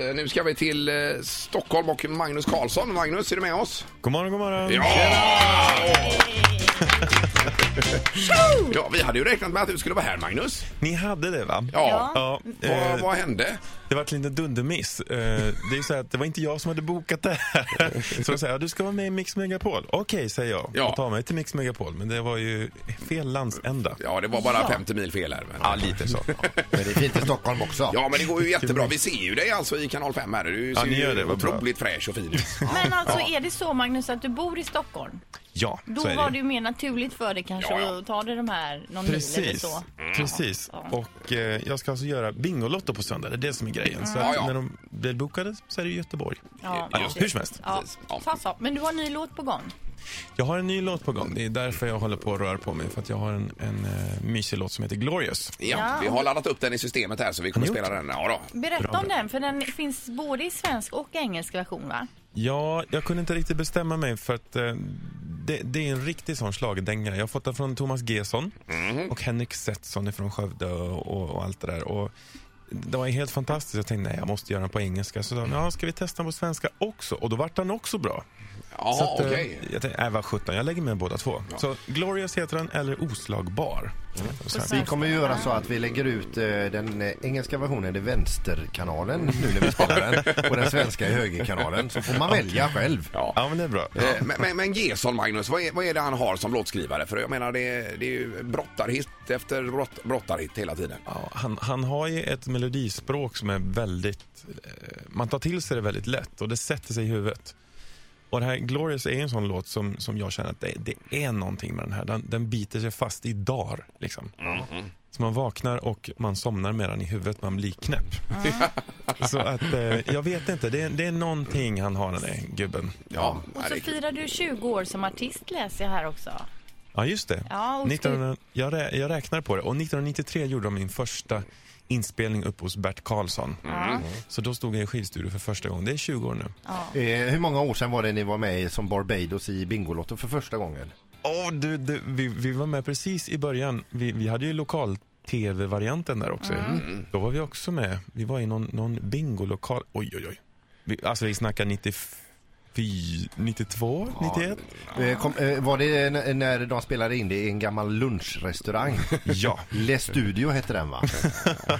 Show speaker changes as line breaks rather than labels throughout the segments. Eh, Nu ska vi till eh, Stockholm och Magnus Karlsson. Magnus, är du med oss?
God morgon, god morgon.
ja, vi hade ju räknat med att du skulle vara här, Magnus.
Ni hade det, va?
Ja.
ja eh,
Vad, vad hände?
det var en liten dundermiss. Eh, det är ju så här att det var inte jag som hade bokat det här. Så jag säger, ja, du ska vara med i Mix Megapol. Okej, säger jag.
Ja.
Och tar mig till Mix Megapol. Men det var ju fel landsända.
Ja, det var bara 50 mil fel här. Men...
Ja, lite så.
Men det är fint i Stockholm också.
Ja, men det går ju jättebra. Vi ser ju dig alltså i kanal 5 här. Du ser
ni gör det,
ju
vad bra.
otroligt fräsch och fin ut.
Men alltså är det så Magnus att du bor i Stockholm?
Ja,
Då
så är det.
var det ju mer naturligt för dig kanske
Ja, ja.
att ta dig de här någon mil eller
Precis,
så.
precis. Och eh, jag ska alltså göra Bingolotto på söndag. Det är det som är grejen. Så
Ja,
att
ja.
när de blev bokade så är det Göteborg.
Ja,
Ja,
precis.
hur som helst.
Ja.
Precis. Ja.
Så, så. Men du har en ny låt på gång.
Jag har en ny låt på gång. Det är därför jag håller på och rör på mig. För att jag har en, en eh, mysig låt som heter Glorious.
Ja,
Ja.
vi har laddat upp den i systemet här så vi kommer
Har ni
spela den. Ja, då.
Berätta
Bra.
om den, för den finns både i svensk och engelsk version va?
Ja, jag kunde inte riktigt bestämma mig för att eh, det, det är en riktig sån schlagerdänga. Jag har fått den från Thomas Gesson och Henrik Setson från Skövde och, och, och allt det där. Och det var helt fantastiskt. Jag tänkte nej, jag måste göra den på engelska. Så sa de, ja, ska vi testa den på svenska också? Och då vart den också bra. så
Jaha,
att, eh,
Ah, okej.
Jag tänkte, nej, vad sjutton, jag lägger med båda två. Så Glorious heter den, eller Oslagbar. som heter den på svenska.
Vi kommer ju göra så att vi lägger ut eh, den eh, engelska versionen i vänsterkanalen nu när vi spelar den och den svenska i högerkanalen. Så får man välja själv.
Ja, men det är bra.
Eh, Men, men, men Gesson, Magnus, vad är, vad är det han har som låtskrivare? För jag menar, det, det är ju brottarhit efter brott, brottarhit hela tiden.
Ja, han, han har ju ett melodispråk som är väldigt... Eh, man tar till sig det väldigt lätt och det sätter sig i huvudet. Och det här Glorious är ju en sån låt som, som jag känner att det, det är någonting med den här. Den, den biter sig fast i dagar liksom. Så man vaknar och man somnar med den i huvudet, man blir knäpp. Så att, eh, jag vet inte, det, är- det är någonting han har den där gubben.
Ja,
Och
nej,
så
det är kul.
firar du 20 år som artist läser jag här också.
Ja, just det.
Ja, och
1900, jag, rä, jag räknar på det. Och 1993 gjorde de min första inspelning upp hos Bert Karlsson. Så då stod jag i skivstudio för första gången. Det är 20 år nu.
Eh, hur många år sedan var det ni var med i som Barbados i Bingolotto för första gången?
Åh, du, du, vi, vi var med precis i början. Vi, vi hade ju lokal-tv-varianten där också.
Mm.
Då var vi också med. Vi var i någon, någon bingolokal. Oj, oj, oj. Vi, alltså vi snackar 94, 92, 91.
Eh, kom, eh, var det n- när de spelade in det i en gammal lunchrestaurang?
Ja.
Le Studio hette den va?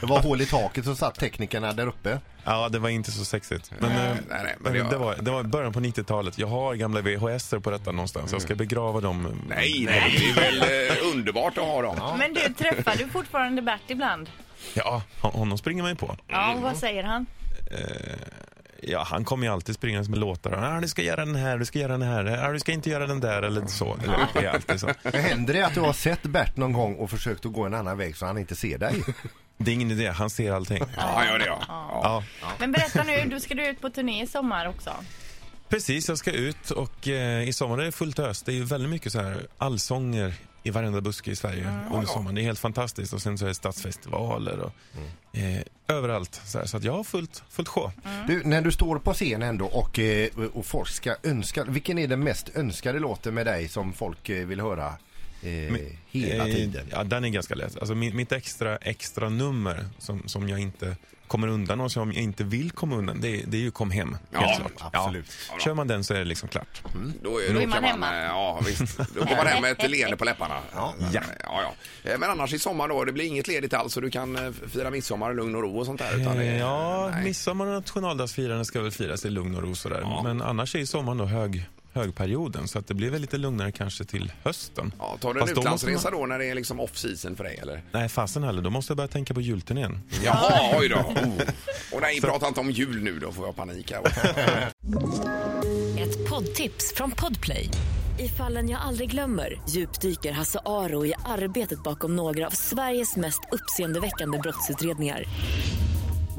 Det var hål i taket så satt teknikerna där uppe.
Ja, det var inte så sexigt. Men, eh,
nej, nej, men
men
jag-
det, var, det var början på 90-talet. Jag har gamla VHS på detta någonstans. Jag ska begrava dem. eh,
Mm. Nej, nej, det är väl eh, underbart att ha dem.
Men du, träffar du fortfarande Bert ibland?
Ja, hon- honom springer man ju på.
Ja, och vad
Mm.
säger han?
Eh, Ja, han kommer ju alltid springandes med låtar. Ah, du ska göra den här, du ska göra den här. Ah, du ska inte göra den där eller så. Eller, det är alltid så.
Men Händer det att du har sett Bert någon gång och försökt att gå en annan väg så han inte ser dig?
Det är ingen idé, han ser allting.
Ja, ja, det ja. ja.
Ja,
Men berätta nu, du ska du ut på turné i sommar också.
precis. Jag ska ut och eh, i sommar är det fullt ös. Det är ju väldigt mycket så här allsånger i varenda buske i Sverige under sommaren. Det är helt fantastiskt. Och sen så är det stadsfestivaler och eh, överallt. Så, här. så att jag har fullt, fullt sjå.
Du, när du står på scen ändå och, eh, och folk ska önska, vilken är den mest önskade låten med dig som folk eh, vill höra eh, hela
Eh,
tiden?
Ja, den är ganska lätt. Alltså, mi- mitt extra, extra nummer som, som jag inte kommer undan och som jag inte vill komma undan, det, är- det är ju Kom hem.
Ja,
helt klart.
absolut.
Ja. Kör man den så är det liksom klart.
Då, är, då
är
kan
man
man,
hemma.
eh, ja visst. Då går man hem med ett leende på läpparna. Ja. Ja, ja. Eh, Men annars i sommar då, det blir inget ledigt alls så du kan eh, fira midsommar i lugn och ro och sånt där. Utan det,
Eh, ja,
nej.
midsommar och nationaldagsfirande ska väl firas i lugn och ro sådär. Men annars är ju sommaren då hög, högperioden så att det blir väl lite lugnare kanske till hösten.
Ja, tar du en
Fast då måste
utlandsresa då när det är liksom off-season för dig eller?
Man... Nej, fasen heller. Då måste jag börja tänka på julturnén.
Jaha, oj då. Oh. Och nej, prata inte om jul nu, då får jag panik här.
Ett poddtips från Podplay. I fallen jag aldrig glömmer djupdyker Hasse Aro i arbetet bakom några av Sveriges mest uppseendeväckande brottsutredningar.